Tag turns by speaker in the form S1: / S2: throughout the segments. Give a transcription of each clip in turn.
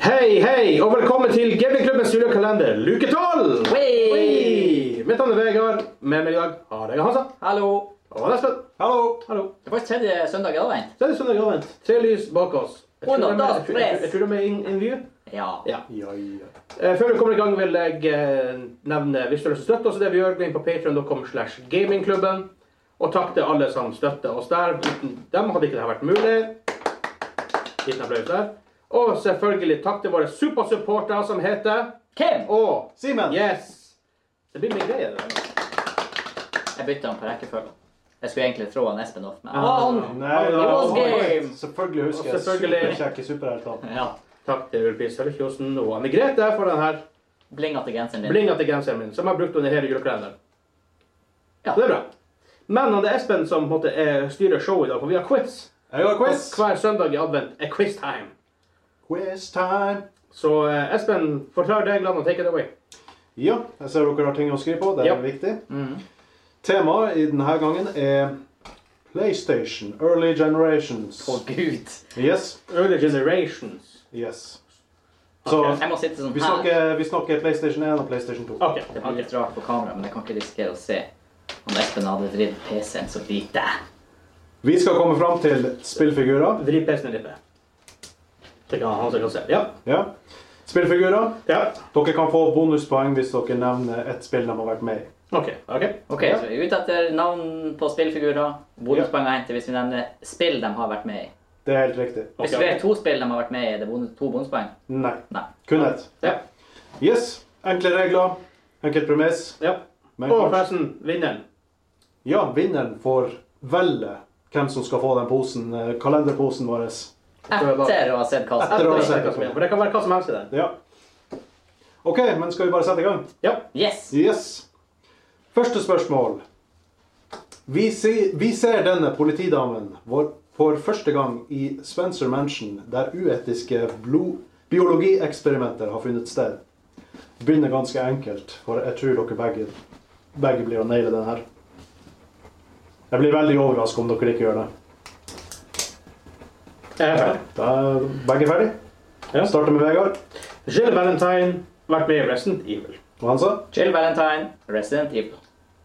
S1: Hei, hei, og velkommen til GB-klubbens julekalender luke 12!
S2: Hei!
S1: Hei! Mitt navn er Vegard. Med meg i dag har jeg Hansa.
S2: Hallo.
S1: Og Espen.
S3: Hallo!
S1: Hallo.
S2: Det var ikke tredje søndag i advent.
S1: Så er det søndag i advent. Tre lys bak oss. Jeg tror
S2: Under
S1: de er-
S2: das
S1: jeg tror- jeg tror-
S2: press.
S1: Jeg tror de er in, in view.
S2: Ja.
S1: Ja.
S3: Ja, ja.
S1: Eh, Før vi kommer i gang, vil jeg eh, nevne hvis du har lyst til å støtte oss i det vi gjør, gå inn på patreon.com slash gamingklubben. Og takk til alle som støtter oss der. Uten dem hadde ikke dette vært mulig. Liten applaus der. Og selvfølgelig takk til våre supersupportere som heter
S2: Kim!
S1: Og
S3: Simen!
S1: Yes! Det blir mye greier. det der.
S2: Jeg bytta han på rekkefølge. Jeg skulle egentlig trå han Espen off, men
S1: Ja.
S2: ah, han.
S3: Nei,
S1: It
S2: was
S3: det var-
S2: game.
S3: Selvfølgelig husker jeg
S1: Selvfølgelig.
S3: superkjekke superhelter.
S2: Ja.
S1: Takk til Ulf Sølvkjosen og Anne Grete for den her
S2: Blinga til genseren din.
S1: blinga til genseren min, som jeg har brukt under hele julekalenderen.
S2: Ja.
S1: Så det er bra. Men det er Espen som på en måte, er, styrer showet i dag, for vi har quiz.
S3: Jeg har quiz!
S1: Og hver søndag i advent er quiz time.
S3: Quiz time!
S1: Så eh, Espen, forklar reglene og take it away.
S3: Ja, jeg ser dere har ting å skrive på. Det er
S1: Ja. Mm.
S3: viktig. Temaet i denne gangen er PlayStation Early Generations.
S2: Å, gud.
S3: Yes.
S1: Early generations.
S3: Yes. Så
S2: Jeg må sitte sånn
S3: vi
S2: her.
S3: snakker, vi snakker PlayStation 1 og PlayStation 2.
S1: OK.
S2: Det blir
S1: ok.
S2: litt rart på kamera, men jeg kan ikke risikere å se om Espen hadde drevet PC-en så lite.
S3: Vi skal komme fram til spillfigurer.
S1: Vri PC-en litt ned. Det kan han som kan se. Ja.
S3: Ja. Spillfigurer.
S1: ja.
S3: Dere kan få bonuspoeng hvis dere nevner et spill de har vært med i.
S1: OK. ok.
S2: Ok, så vi er ute etter navn på spillfigurer. Bonuspoeng å hente hvis vi nevner spill de har vært med i.
S3: Det er helt riktig.
S2: Hvis
S1: Ok.
S2: det er to spill de har vært med i, er det bonus, to bonuspoeng?
S3: Nei.
S2: Nei.
S3: Kun ett.
S1: Ja.
S3: Yes. Enkle regler. Enkelt premiss.
S1: ja.
S3: Men
S1: Og
S3: kanskje-
S1: forresten, vinneren.
S3: ja, vinneren får velge hvem som skal få den posen, eh, kalenderposen vår.
S2: Etter å ha sett kassen.
S3: Etter å-
S1: Det er ikke hva som er, For det kan være hva som helst i den.
S3: Ja. OK, men skal vi bare sette i gang?
S1: Ja.
S2: Yes!
S3: Yes. Første spørsmål. Vi, se, vi ser denne politidamen vår for første gang i Spencer Mansion, der uetiske blod, biologieksperimenter har funnet sted. Begynner ganske enkelt, for jeg tror dere begge, begge blir å naile den her. Jeg blir veldig overrasket om dere ikke gjør det.
S1: Jeg er ferdig.
S3: Da er begge ferdig.
S1: Ja.
S3: Starter med Vegard.
S1: Jill Valentine vært med i Resident Evil.
S3: Og han sa?
S2: Jill Valentine, Resident Evil.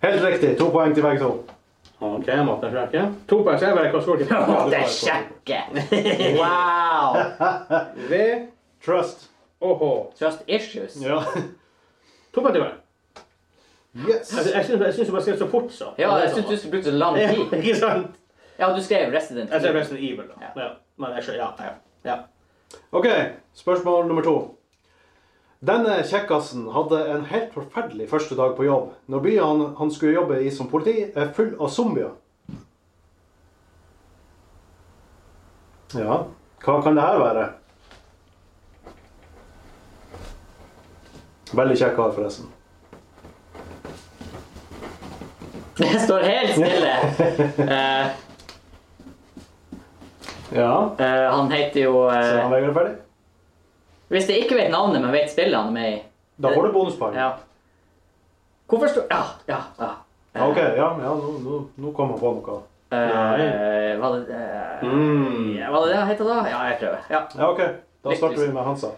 S3: Helt riktig. To poeng til begge to.
S1: OK, jeg måtte sjekke. To poeng, så jeg vet hva skåret
S2: Måtte
S1: er.
S2: sjekke! Wow!
S1: V
S3: Trust.
S1: og H.
S2: Trust issues.
S3: Ja.
S1: To poeng til hver.
S3: Yes.
S1: Altså, Jeg syns- jeg syns du bare skrev så fort, så.
S2: Ja, jeg
S1: sånn.
S2: syns du skulle brukt så lang tid.
S1: Ikke sant?
S2: Ja, du skrev Resident
S1: Jeg ser
S2: Evil.
S1: Resident Evil, da.
S2: Ja.
S1: Ja. Men jeg skjønner Ja. ja. ja.
S3: Ok, spørsmål nummer to. Denne kjekkasen hadde en helt forferdelig første dag på jobb, når byen han, han skulle jobbe i som politi, er full av zombier. Ja, hva kan det her være? Veldig kjekk kar, forresten.
S2: Det står helt stille. Eh,
S3: Ja.
S2: eh, han heter jo
S3: Så
S2: eh,
S3: han Vegard er ferdig?
S2: Hvis jeg ikke vet navnet, men vet spillet han er med i
S3: Da får du bonuspoeng.
S2: Ja. Hvorfor står Ja, ja. ja. Eh,
S3: Ok, ja, ja nå, nå, nå kom han på noe.
S2: eh, var det eh,
S1: Mm.
S2: ja, Var det det han heter da? Ja, jeg prøver. Ja.
S3: Ja, ok. Da starter vi med Hansa.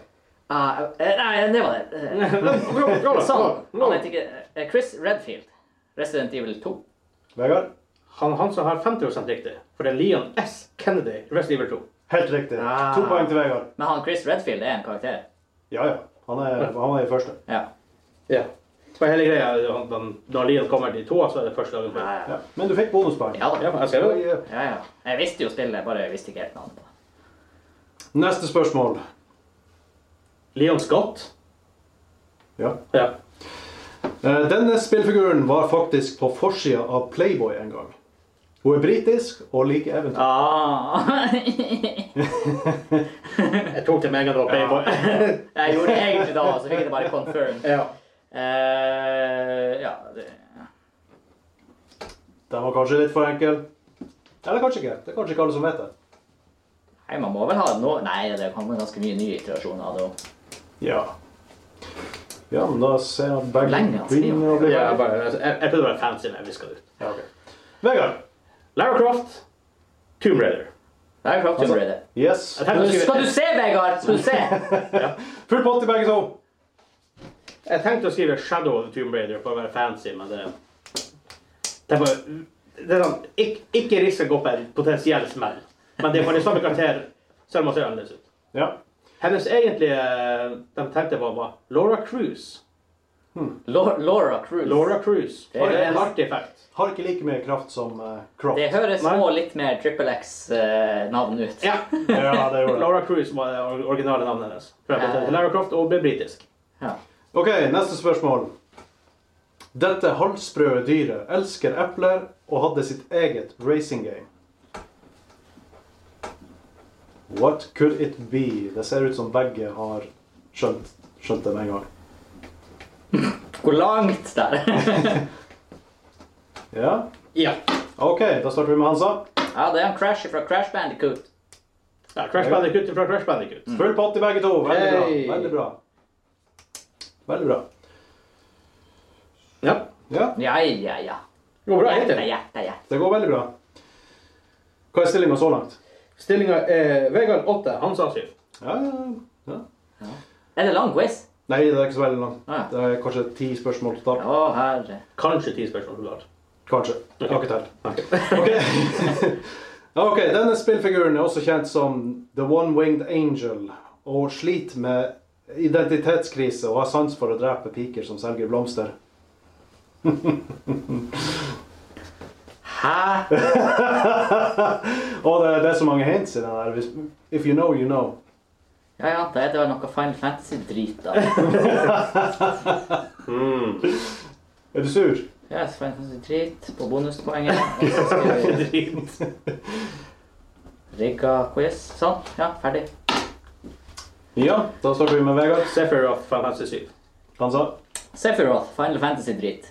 S2: Ah, eh, nei, det var det. Eh, Sånn. Han heter ikke eh, Chris Redfield. Resident Evil 2.
S3: Vegard?
S1: Han, han som har 50 riktig, for det er Leon S. Kennedy. Resident Evil 2.
S3: Helt riktig.
S2: Ah.
S3: To poeng til Vegard.
S2: Men han Chris Redfield er en karakter.
S3: Ja, ja. Han er, han er i første.
S2: Ja.
S1: Ja. For hele greia, han- han- Når Leon kommer til toa, så er det første dagen. på.
S2: Ja,
S3: Ja. Men du fikk bonuspoeng. eh,
S2: ja da.
S1: Ja, jeg ser det.
S2: Ja, ja. Jeg visste jo spillet, bare jeg visste ikke helt navnet på det.
S3: Neste spørsmål.
S1: Leon Scott.
S3: Ja.
S1: Ja.
S3: Eh, Denne spillfiguren var faktisk på forsida av Playboy en gang. Hun er britisk og liker eventyr.
S2: Ah.
S1: Jeg tok det med en gang det var Playboy.
S2: jeg gjorde det egentlig da, så fikk jeg det bare confirmed.
S1: ja.
S2: Eh, ja, det...
S3: Den var kanskje litt for enkel. Eller kanskje ikke. Det er kanskje ikke alle som vet det.
S2: Nei, man må vel ha noe... Nei, det kommer ganske mye nye iterasjoner av det også.
S3: Ja. Ja, men da ser jeg at begge
S2: Lenge, altså.
S3: begynner å bli
S1: Ja, jeg,
S3: ferdig.
S1: bare, jeg, jeg prøvde å være fancy, men jeg viska det ut.
S3: Ja, ok. Vegard.
S1: Lara Croft, Tomb Raider. Nei, klart.
S2: Så gjorde jeg det.
S3: Yes.
S1: Jeg tenkte, å
S2: Skal du
S1: skrive,
S2: se, Vegard? Skal du se?
S3: Full pott i begge to.
S1: jeg tenkte å skrive 'Shadow of the Tomb Raider' for å være fancy, men det Det er bare det er sånn, ikke, ikke risk å gå på en potensiell smell, men det er bare samme karakter, selv om man ser annerledes ut.
S3: Ja.
S1: Hennes egentlige eh, de tenkte på, var Laura Cruise.
S2: Lau- Laura Cruz.
S1: Laura Cruise.
S2: Det
S1: Har
S2: er-
S1: en artig effekt.
S3: Har ikke like mye kraft som eh, Croft.
S2: Det høres
S1: Nei.
S2: nå litt mer Triple X-navn ut.
S1: Ja.
S3: Ja, det gjorde det.
S1: Laura Cruise var det or- originale navnet hennes. Fra
S2: Ja.
S1: Lara Croft og ble britisk.
S2: Ja.
S3: Ok, neste spørsmål. Dette halvsprø dyret elsker epler og hadde sitt eget racing game. What could it be? Det ser ut som begge har skjønt, skjønt det med en gang.
S2: Hvor langt der?
S3: Ja?
S1: Ja.
S3: Ok, da starter vi med Hansa.
S2: Ja, det er en Crash fra Crash Bandicoot.
S1: ja Crash Bandicoot fra Crash Bandicoot.
S2: Mm.
S3: Full pott i begge to. Veldig bra.
S1: Hey.
S3: Veldig bra. Veldig bra.
S1: Ja.
S3: Ja,
S2: Ja, ja, ja.
S1: Det går bra,
S2: Hjerte,
S1: egentlig.
S2: hjerte, hjerte.
S3: det går veldig bra. Hva er stillinga så langt?
S1: Stillinga er eh, Vegard 8, han sa 7.
S3: Ja, ja, ja.
S2: Er det lang quiz?
S3: Nei, det er ikke så veldig langt.
S2: Ah, ja.
S3: Det er kanskje ti spørsmål totalt.
S2: Å, herre.
S1: Kanskje 10 spørsmål totalt.
S3: Kanskje. Jeg har ikke telt. Ok. ok, denne spillfiguren er også kjent som The One-Winged Angel og sliter med identitetskrise og har sans for å drepe piker som selger blomster.
S2: Hæ?
S3: Og det, det er så mange hints i den der. Hvis- If you know, you know.
S2: Ja, ja, da er det vel noe Final Fantasy-drit, da.
S3: Er du sur?
S2: Ja, så Final Fantasy-drit på bonuspoenget. Og så skal vi
S1: Drit.
S2: Rigga quiz. Sånn. Ja, ferdig.
S3: Ja, da starter vi med Vegard.
S1: Sephiroth fra Fantasy 7.
S3: Han sa.
S2: Sephiroth, Final Fantasy-drit.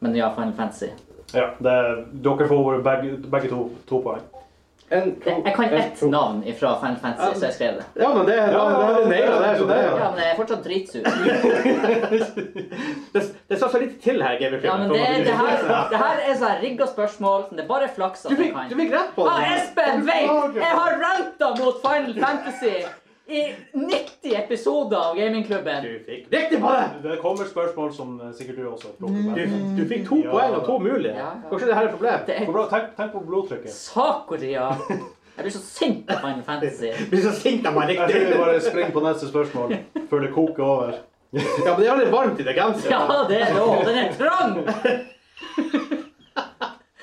S2: Men ja, Final Fantasy.
S3: Ja, det, er- dere får begge, begge to, to poeng.
S1: En,
S2: Jeg jeg kan
S1: en,
S2: ett
S1: to.
S2: navn ifra Final Fantasy, så jeg skrev det.
S1: Ja, men det, det, det,
S3: ja,
S1: det, det, det,
S3: det-
S1: er sånn det, er.
S2: Ja, men jeg er fortsatt dritsur.
S1: det, det sa så lite til her. Gamer,
S2: Ja, men det, det, her, det her er sånn rigga spørsmål som det er bare flaks
S1: Du
S2: at jeg
S1: fikk,
S2: kan.
S1: du fikk rett på
S2: Ah,
S1: det.
S2: Espen, veit! Jeg har ranta mot Final Fantasy i 90 episoder av gamingklubben.
S1: Du fikk riktig på det!
S3: Det kommer spørsmål som eh, sikkert du også plukker
S1: Du,
S3: med.
S1: du fikk to
S3: Ja.
S1: poeng og to mulige.
S2: Ja, ja.
S1: Kanskje det her er et problem?
S2: Det er
S3: Hvor bra, tenk, tenk på blodtrykket.
S2: Sakuria. Jeg blir så sint av Final Fantasy.
S1: Hvis jeg sinter meg
S3: Jeg tror
S1: riktig.
S3: vi bare springer på neste spørsmål før det koker over.
S1: Ja, men det er litt varmt i det
S2: Ja,
S1: genseren.
S2: det er lov. Den er trang!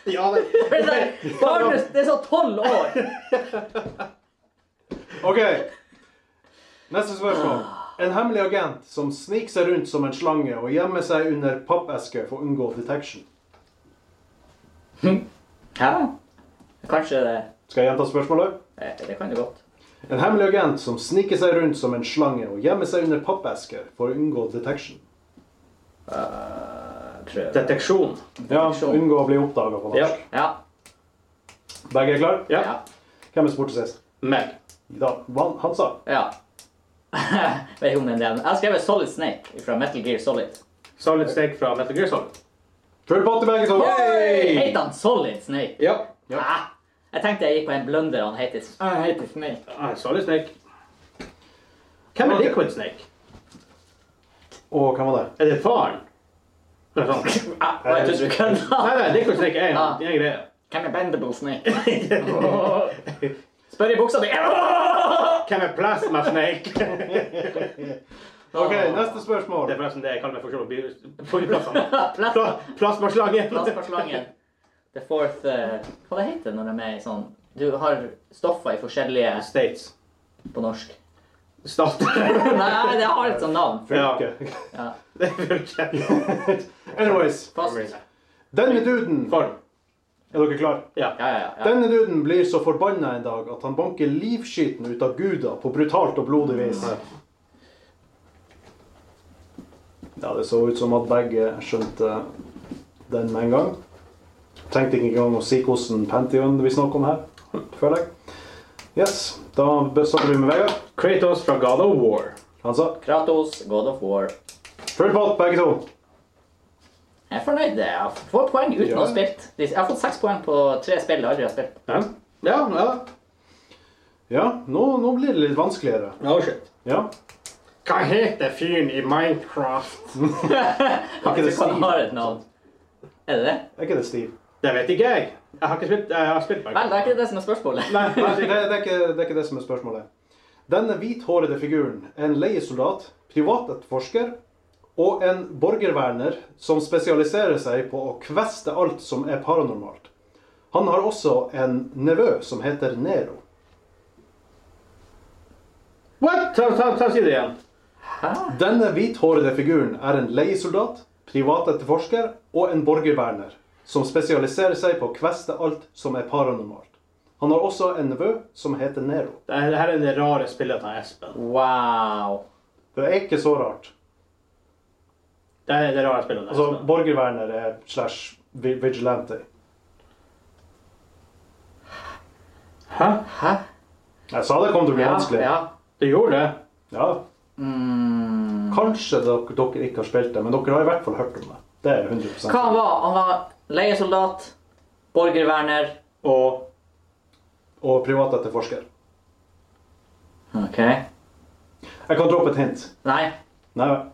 S1: Ja, det-
S2: Det er, Karlus, det er så tolv år.
S3: Ok. Neste spørsmål. En hemmelig agent som sniker seg rundt som en slange og gjemmer seg under pappesker for å unngå detection.
S2: Hæ? Kanskje det
S3: Skal jeg gjenta spørsmålet?
S2: eh, Det kan du godt.
S3: En hemmelig agent som sniker seg rundt som en slange og gjemmer seg under pappesker for å unngå detection.
S2: Prøv.
S1: Deteksjon.
S3: Ja,
S2: Detection.
S3: unngå å bli oppdaga på
S1: Ja.
S3: norsk.
S2: Ja.
S3: Begge er klare?
S1: Ja.
S2: Ja.
S3: Hvem er borte sist?
S1: Meg.
S3: Da, Van- Hansa.
S2: Ja. Vet ikke om den delen. Jeg har skrevet Solid Snake fra Metal Gear Solid.
S1: Solid Snake fra Metal Gear Solid.
S3: Full pott til begge to.
S1: Hey!
S2: Heter han Solid Snake?
S1: Ja.
S3: Ja.
S2: Hæ? Jeg tenkte jeg gikk på en blunder. Han heter, han heter Snake.
S1: Ah, Solid Snake. Hvem er
S3: Ok.
S1: Liquid Snake?
S3: Og hvem var det?
S1: Er det faren? Eller sånn.
S2: Ah, hva heter du kødda?
S1: Nei, nei, Liquid Snake er en,
S2: Ah.
S1: en greie.
S2: Hvem er Bendable Snake? Spør i buksa di. Åh!
S1: Hvem er Plasma Snake? Det
S3: Ok, neste spørsmål.
S1: er forresten det jeg kaller meg for sjøl på flyplassene.
S2: Plasma-
S1: Pla- Plasmaslangen.
S2: Plasmaslangen. The fourth eh, Hva det heter når de er i sånn Du har stoffer i forskjellige
S1: States.
S2: på norsk.
S1: Stater.
S2: Nei, det har et sånt navn.
S1: Ja.
S3: Fylke.
S2: Ja.
S1: Det er ikke
S3: Anyways.
S2: Fast.
S3: Denne duden
S1: Form.
S3: Er dere klare?
S1: Ja.
S2: Ja, ja, ja.
S3: Denne duden blir så forbanna en dag at han banker livskiten ut av guder på brutalt og blodig vis. Ja, det så ut som at begge skjønte den med en gang. Trengte ikke engang å si hvordan Pantheon vi snakker om her, føler jeg. Yes, da starter vi med Vegard.
S1: Kratos fra God of War.
S3: Han sa
S2: Kratos, God of War.
S3: full pott, begge to.
S2: Jeg er fornøyd. Jeg får poeng uten
S3: Ja.
S2: å ha spilt. Jeg har fått seks poeng på tre spill jeg aldri har spilt.
S1: Ja, ja. ja.
S3: Ja, nå, nå blir det litt vanskeligere.
S1: Oh, shit.
S3: Ja.
S1: Hva heter fyren i Minecraft?
S2: Har
S3: ikke
S2: ikke
S3: det
S2: han
S3: Steve?
S2: har et navn. Er det det?
S3: Er ikke det Steve?
S1: Det vet ikke jeg. Jeg har ikke spilt, jeg har spilt
S2: Vel, det
S1: Minecraft.
S2: er ikke det som er spørsmålet.
S3: Nei, det, det, er ikke, det er ikke det som er spørsmålet. Denne hvithårede figuren er en leiesoldat, privatetterforsker og en borgerverner som spesialiserer seg på å kveste alt som er paranormalt. Han har også en nevø som heter Nero.
S1: What? Ta, ta, ta si det igjen.
S3: Denne hvithårede figuren er en leiesoldat, privatetterforsker og en borgerverner som spesialiserer seg på å kveste alt som er paranormalt. Han har også en nevø som heter Nero.
S1: Det er- det her er det rare spillet til Espen.
S2: Wow.
S3: Det er ikke så rart.
S1: Det er sånn. det rare spillet til Espen.
S3: Altså, borgerverner er slash vi- vigilante.
S1: Hæ?
S2: Hæ?
S3: Jeg sa det kom til å bli
S2: Ja,
S3: vanskelig.
S2: ja.
S1: Du gjorde det?
S3: Ja. Kanskje dere, dere ikke har spilt det, men dere har i hvert fall hørt om det. Det er 100
S2: Hva han var? Han var leiesoldat, borgerverner.
S1: Og
S3: Og privatetterforsker.
S2: Ok.
S3: Jeg kan droppe et hint.
S2: Nei.
S3: Nei vel.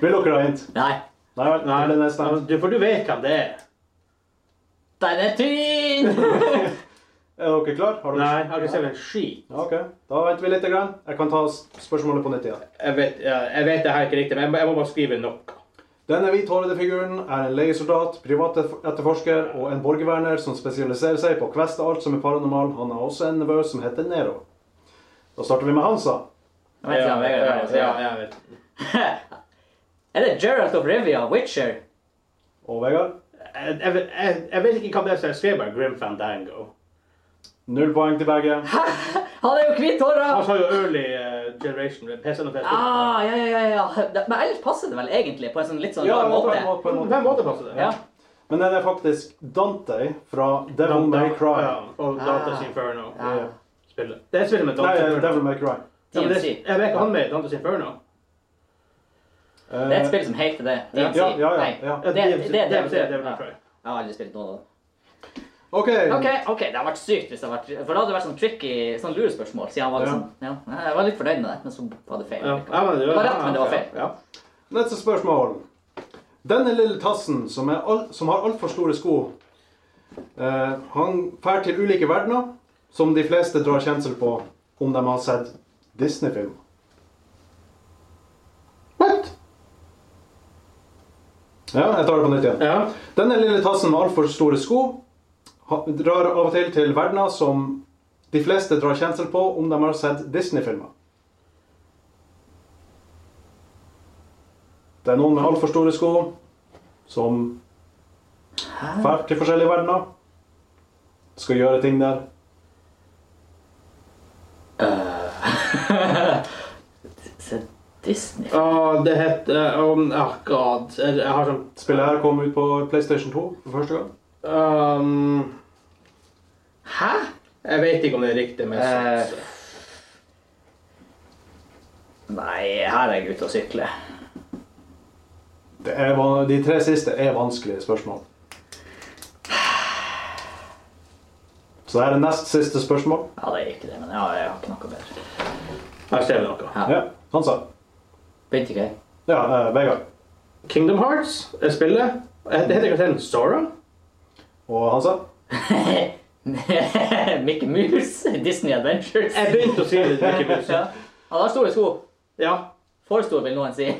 S3: Vil dere ha hint?
S2: Nei.
S3: Nei vel. Nei, det er neste hint.
S1: Sånn, Du, for du vet hvem det er.
S2: Den er tynn!
S3: Er dere klar? Har dere
S1: Nei, jeg har ikke sett en skit.
S3: Ja, Ok, da venter vi litt. Grann. Jeg kan ta s- spørsmålet på nytt igjen.
S1: Jeg vet, ja, jeg vet det her er ikke riktig, men jeg må, jeg må bare skrive noe.
S3: Denne hvithårede figuren er en leiesoldat, privatetterforsker og en borgerverner som spesialiserer seg på å kveste alt som er paranormal. Han har også en nevø som heter Nero. Da starter vi med Hansa.
S2: Jeg vet ikke om Vegard har det.
S1: ja, jeg vet.
S2: Er det Geralt of Rivia, Witcher?
S3: Og Vegard,
S1: Jeg, jeg, jeg, jeg vet ikke hva det er, så jeg skrev bare Grim Fandango.
S3: null poeng til begge.
S2: Han er jo kvitt håra!
S1: Han sa jo early eh, generation med PC-en og PS2.
S2: Ah, ja, ja, ja, ja. Men ellers passer det vel egentlig på en sånn litt sånn
S3: Ja,
S2: rar
S3: på
S2: måte.
S3: en måte. På en
S1: På en
S3: måte.
S1: måte passer det.
S2: Ja.
S3: Men den er faktisk Dante fra Devil May Cry.
S1: Ja, og Dantes
S2: Ah.
S1: Inferno.
S2: Ja.
S1: Spillet. Det er spillet med
S3: Nei,
S1: Dantes Inferno.
S3: Devil May Cry.
S1: Ja, men det,
S2: DMC.
S1: jeg vet ikke han med i Dantes Inferno.
S3: Eh,
S2: Det er et spill som heter det.
S1: Ja,
S2: DMC.
S3: ja, ja, ja,
S2: Nei,
S3: ja.
S2: det,
S1: DMC,
S2: det er
S1: DMC,
S2: DMC.
S1: Devil May
S2: Ja.
S1: Cry.
S2: Jeg har aldri spilt noen av dem.
S3: OK.
S2: OK, ok, det hadde vært sykt hvis det hadde vært For da hadde det vært sånn tricky sånn lurespørsmål. Siden han var
S3: Ja.
S2: liksom, ja. Jeg var litt fornøyd med det, men så var det feil.
S1: Ja. Ja, men
S2: Det var rett, men det var
S1: ja,
S2: feil.
S1: Ja.
S3: Neste spørsmål. Denne lille tassen som, er all, som har altfor store sko, eh, han fær til ulike verdener, som de fleste drar kjensel på om de har sett Disney-film.
S1: What?
S3: Ja, jeg tar det på nytt igjen.
S1: Ja.
S3: Denne lille tassen med altfor store sko ha, drar av og til til verdener som de fleste drar kjensel på om de har sett Disney-filmer. Det er noen med altfor store sko som drar til forskjellige verdener. Skal gjøre ting der.
S2: Se, Disney
S1: Å, det heter um, oh, God. Jeg, jeg har sånn
S3: Spillet her kom ut på PlayStation 2 for første gang.
S1: um,
S2: Hæ?
S1: Jeg vet ikke om det er riktig, men
S2: Eh.
S1: så-
S2: Nei, her er jeg ute og sykler.
S3: Det er, van- de tre siste er vanskelige spørsmål. Så det er det nest siste spørsmål.
S2: Ja, det er ikke det, men ja, jeg har ikke noe bedre.
S1: Her ser vi noe.
S3: Ja, han sa.
S2: Begynte ikke jeg?
S3: Ja, eh, Vegard.
S1: Kingdom Hearts er spillet. Det heter karakteren Sora.
S3: Og han sa
S2: Mickey Mouse, Disney Adventures.
S1: Jeg begynte å si det Mickey Mouse.
S2: Ja. Han har store sko.
S1: Ja.
S2: For store, vil noen si.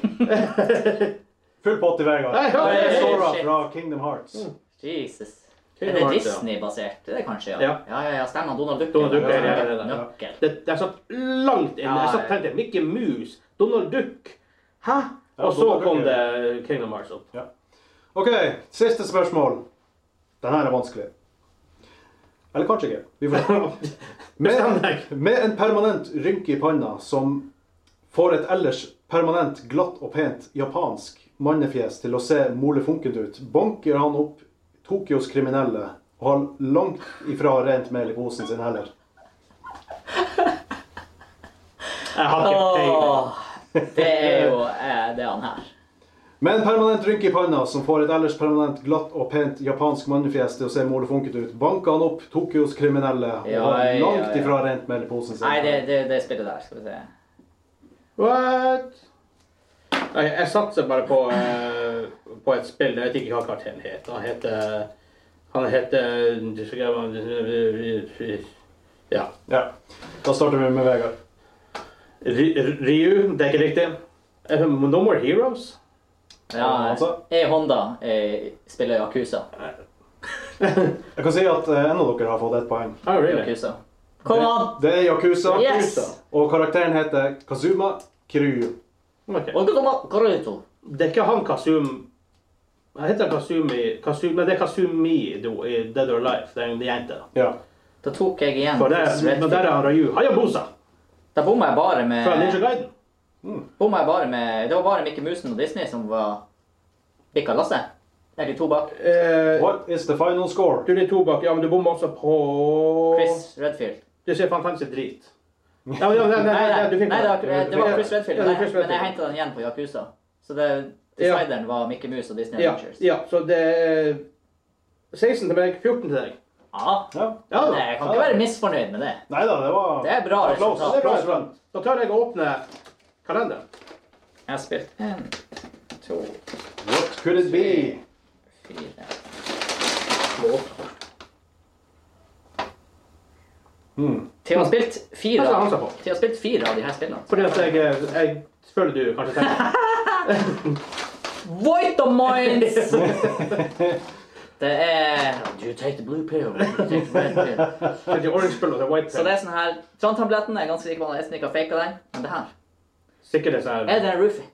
S3: Full pott til Vegard. Mm.
S1: Nei,
S3: Det
S1: ja,
S3: er
S1: ja,
S3: Sora
S2: shit.
S3: fra Kingdom Hearts.
S2: Jesus. Er
S1: Kingdom
S2: det
S1: Hearts, ja.
S2: Disney-basert? Det er det kanskje, ja.
S1: Ja.
S2: Ja, ja, ja stemmer. Donald Duck.
S1: Donald Duck,
S3: ja, ja,
S1: ja, ja.
S2: Nøkkel.
S1: Det, det er satt langt inne. Jeg satt og tenkte Mickey Mouse, Donald Duck. Hæ?
S3: Ja,
S1: Og så
S3: Donald Duck
S1: kom
S3: er-
S1: det Kingdom Hearts opp.
S3: OK, siste spørsmål. Den her er vanskelig. Eller kanskje ikke. Vi får se.
S1: Bestem
S3: Med,
S1: deg.
S3: med en permanent rynke i panna som får et ellers permanent glatt og pent japansk mannefjes til å se mole funkent ut, banker han opp Tokyos kriminelle og har langt ifra rent mel i posen sin heller.
S1: Jeg har ikke peiling.
S2: Åh, det er jo eh, det er han her.
S3: Med en permanent rynke i panna som får et ellers permanent glatt og pent japansk mannefjes til å se molefunket ut, banker han opp Tokyos kriminelle og
S2: Ja,
S3: har
S2: ja,
S3: langt
S2: ja.
S3: ifra rent mel i posen sin.
S2: Nei, det, det, det spillet der, skal vi se.
S1: What? Nei, jeg satser bare på, eh, på et spill. Jeg vet ikke hva karakteren heter. Han heter Han heter Ja.
S3: Ja. Da starter vi med Vegard.
S1: Ri- Ryu, det er ikke riktig. Eh, No More Heroes?
S3: Ja, altså.
S2: E Honda eh, spiller Yakuza.
S3: Jeg kan si at eh, en av dere har fått ett poeng.
S1: Oh, really?
S2: Yakuza. Kom an!
S3: Det er Yakuza,
S2: Yes!
S3: og karakteren heter Kazuma Kiryu.
S1: Ok. Og
S2: Ogodoma Koruto.
S1: det er ikke han Kasum Hva heter han Kasumi? Kasum, nei, det er Kasumi do, i Dead or Alive. Det er en jente.
S3: Ja.
S2: Da tok jeg igjen.
S1: For det,
S2: Red
S1: men der er han Ryu. Hayabusa
S2: Da bomma jeg bare
S1: fra Ninja
S2: med,
S1: Gaiden.
S2: bomma jeg bare med Det var bare Mikke Musen og Disney som var bikka lasset. Er de to bak?
S1: Eh,
S3: What is the final score?
S1: du er de to bak. Ja, men du bommer også på
S2: Chris Redfield.
S1: Du ser fantastisk drit. Ja, men, ja, nei, nei,
S2: Nei,
S1: nei,
S2: nei,
S1: du fikk
S2: nei det, var, det var Chris Redfield.
S1: Ja, det
S2: Men
S1: var Chris
S2: jeg, men jeg
S1: Redfield.
S2: henta den igjen på Yakuza. Så det,
S1: Ja.
S2: decideren var Mikke Mus og Disney
S1: Ja,
S2: Adventures.
S1: ja, så det er 16 til meg, 14 til deg.
S2: Ja.
S3: Ja.
S1: Ja,
S2: Nei, jeg kan ikke være misfornøyd med det.
S3: Nei da, det var
S2: Det er bra
S3: det var close.
S2: resultat.
S3: Det er bra
S1: bra.
S3: resultat.
S1: Da tør jeg å åpne kalenderen.
S2: Jeg har spilt én, to,
S3: What could it be?
S2: fire
S3: Hmm.
S2: Til å ha spilt fire
S1: Hva sa han
S2: av,
S1: seg på?
S2: til å ha spilt fire av de her spillene.
S1: Fordi at jeg, eh, jeg føler du kanskje tenker
S2: Void the minds! det er Do you take the blue pill? Do you take the red pill?
S1: tenker orange pill og så white
S2: Så
S1: pill.
S2: det er sånn her Trondheim-tabletten er ganske sikker på at Espen ikke har faka den. Men det her
S1: Sikkert det som
S2: er
S1: er
S2: det en Roofy.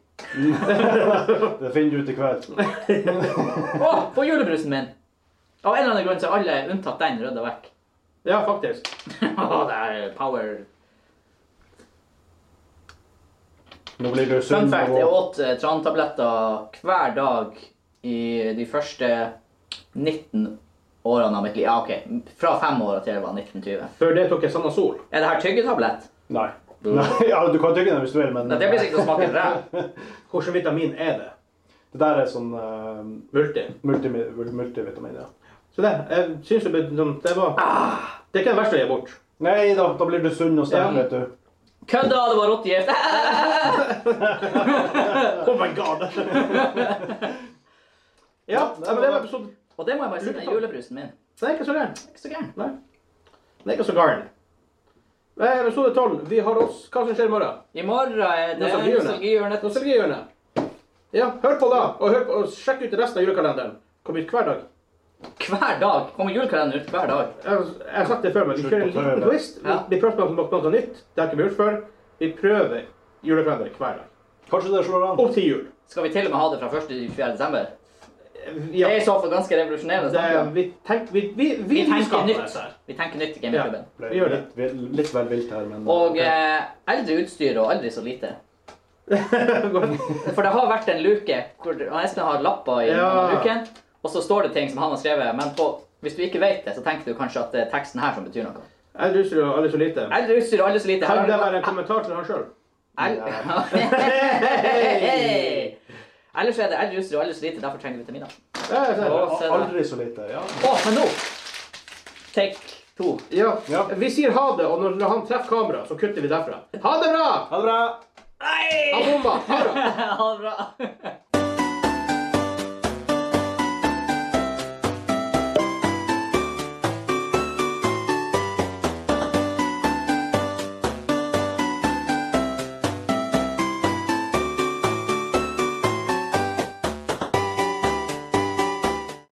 S3: Det finner du ut i kveld.
S2: Å, på julebrusen min! Av en eller annen grunn så er alle unntatt den rydda vekk.
S1: Ja, faktisk.
S2: Å, det er power
S3: Nå blir du
S2: Fun
S3: sunn.
S2: fact,
S3: og-
S2: jeg åt eh, trantabletter hver dag i de første 19 årene av mitt liv. Ja, OK. Fra fem år til jeg var 1920.
S1: Før det tok jeg Sanna Sol.
S2: Er det her tyggetablett?
S3: Nei. Nei. Ja, du kan tygge den hvis du vil, men
S2: Nei, Det blir sikkert å smake ræv.
S1: Hvilken vitamin er det?
S3: Det der er sånn uh,
S1: Multi.
S3: multi, multivitamin, ja.
S1: Så det, jeg synes det, ble- det var
S2: Ah.
S1: Det er ikke det verste å gi bort.
S3: Nei da, da blir du sunn og sterk,
S1: Ja.
S3: vet du.
S2: Kødda, det var rottegift!
S1: Oh my god! ja, nei, men det var episode
S2: Og det må jeg bare si, den julebrusen min.
S1: Det er ikke så gærent.
S2: Ikke så gæren.
S1: Nei. Det er ikke så gæren. Det er Episode 12. Vi har oss Hva som skjer i morgen?
S2: I morgen er det
S1: Nostalgihjørnet.
S2: nostalgihjørnet.
S1: Nostalgihjørnet. Ja, hør på da, og, hør på, og sjekk ut resten av julekalenderen. Kommer ut hver dag.
S2: Hver dag kommer julekalenderen ut hver dag.
S1: Jeg jeg har sagt det før, men vi kjører en liten twist. Vi,
S2: Ja.
S1: vi prøver på noe, noe nytt. Det har ikke vi gjort før. Vi prøver julekalender hver dag.
S3: Kanskje det slår an.
S1: Opp til jul.
S2: Skal vi til og med ha det fra 1. til 4. desember? Det
S1: Ja,
S2: er i så fall ganske revolusjonerende.
S1: det, er-
S2: tanke.
S1: vi tenker Vi, vi, vi,
S2: Vi tenker
S1: skaper
S2: nytt.
S1: dette her.
S2: Vi tenker nytt i
S1: Ja,
S2: gamingklubben.
S3: Ble
S1: vi gjør det.
S3: Litt, vil- litt vel vilt her, men
S2: Og eh, eldre utstyr og aldri så lite. For det har vært en luke hvor og Espen har lapper i
S1: Ja.
S2: luken, og så står det ting som han har skrevet, men på, hvis du ikke vet det, så tenker du kanskje at det er teksten her som betyr noe.
S1: Jeg lyser jo aldri så lite.
S2: Eldre utstyr og aldri så lite.
S1: Kan det være en kommentar til han sjøl?
S2: El- Hei! Ellers er det eldre utstyr og eldre sliter, derfor trenger vi vitaminer. Å, se der.
S3: Aldri så lite. Ja.
S2: Å, men nå! Take to.
S1: Ja.
S3: Ja.
S1: Vi sier ha det, og når når han treffer kameraet, så kutter vi derfra. Ha det bra!
S3: Ha det bra!
S1: Ha
S2: Nei!
S1: bomba! Ha det bra!
S2: Ha det bra.